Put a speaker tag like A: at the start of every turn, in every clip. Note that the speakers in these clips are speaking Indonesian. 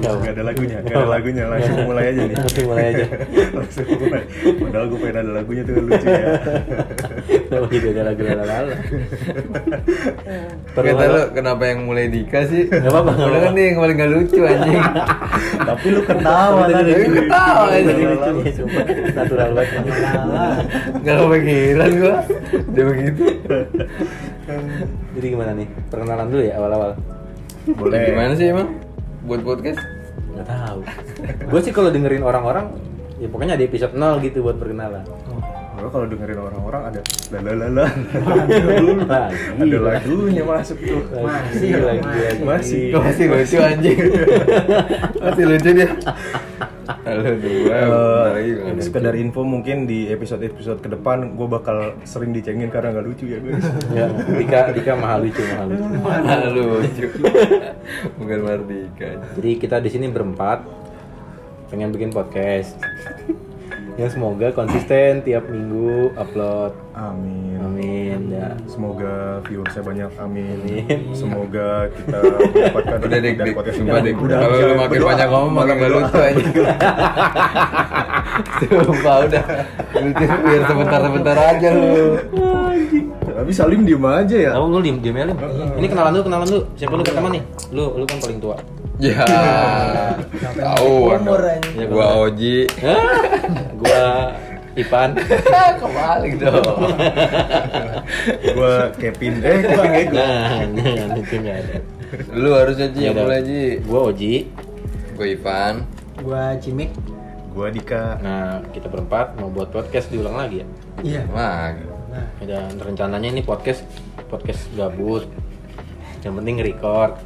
A: Gak ada lagunya, gak ada lagunya, langsung mulai aja nih
B: Langsung mulai aja.
A: Langsung mulai, padahal gue pengen ada lagunya tuh lucu ya
B: Kenapa jadi ada lagu lala-lala? Perlu
C: Kata
B: apa?
C: lu kenapa yang mulai Dika sih?
B: Gak apa-apa, gak
C: Udah kan
B: apa-apa.
C: dia yang paling gak lucu anjing.
A: Tapi lu ketawa
B: Tadi
A: tadi
B: lucu.
C: Ketawa aja.
B: Tadi lucu ya, sumpah. Natural banget
C: gak kepikiran gua. Dia begitu.
B: Jadi gimana nih? Perkenalan dulu ya awal-awal
A: Boleh
C: Gimana sih emang? Buat podcast?
B: Gak tahu. Gue sih kalau dengerin orang-orang Ya pokoknya ada episode 0 gitu buat perkenalan
A: Gue kalau dengerin orang-orang ada lalalala Ada
B: Ada
A: lagunya masuk tuh
B: Masih lagi lagi.
A: Masih.
C: Kok masih lucu anjing? masih lucu dia. Halo dua.
A: Eh,
C: bentar lagi gua ada.
A: sekedar info mungkin di episode-episode ke depan gue bakal sering dicengin karena nggak lucu ya guys
B: Ya, Dika, Dika mahal lucu, mahal lucu.
C: Mana lucu? Bukan Mardika.
B: Jadi kita di sini berempat pengen bikin podcast. Yang semoga konsisten tiap minggu upload.
A: Amin
B: Amin ya.
A: Semoga viewersnya banyak, amin.
B: Amin.
A: Semoga kita mendapatkan
C: Udah deh,
A: dari
C: Dik.
A: podcast
C: Sumpah,
A: ini.
C: Dik. Kalau lu makin
A: berdoa.
C: banyak ngomong, makin gak lucu aja. Sumpah udah. Lucu biar sebentar-sebentar aja lu.
A: Tapi Salim diem aja ya.
B: Kamu lu diem diem ya, Lim. Ini kenalan dulu, kenalan dulu. Siapa lu pertama nih? Lu lu kan paling tua.
C: Ya. Tahu
D: Umur,
C: Anda.
B: anjing.
C: Gua Oji.
B: Hah? Gua Ipan.
C: Kebalik dong.
A: Gua Kevin. Eh, Kevin Ego.
B: Nah, nah, itu nggak ada.
C: Lu harus Oji yang
B: Nggak ada.
C: mulai Iya, Ji.
B: Gua Oji.
C: Gua Ivan.
D: Gua Cimik.
A: Gua Dika.
B: Nah, kita berempat mau buat podcast diulang lagi ya.
D: Iya.
C: Wah.
D: Nah,
B: Dan rencananya ini podcast podcast gabut. Yang penting record.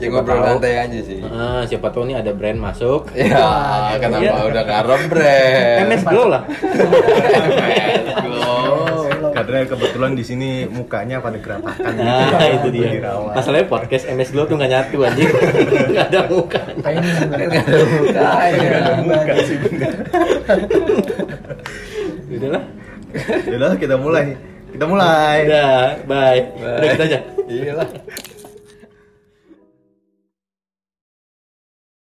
C: Ya
B: Siapa
C: ngobrol
B: tahu.
C: santai aja sih.
B: Ah, siapa tahu nih ada brand masuk.
C: Ya, kenapa udah karem brand?
B: MS Glow lah.
C: Oh,
A: Karena kebetulan di sini mukanya pada keratakan
B: Nah,
A: Iya.
B: itu dia.
A: Dirawat.
B: Masalahnya podcast MS Glow tuh nggak nyatu anjing. Nggak ada mukanya.
D: kayak ini sebenarnya.
A: Nggak ada muka sih bener.
B: Udahlah.
A: Yaudah kita mulai. Kita mulai.
B: Udah, bye. Udah kita aja.
C: Iya lah.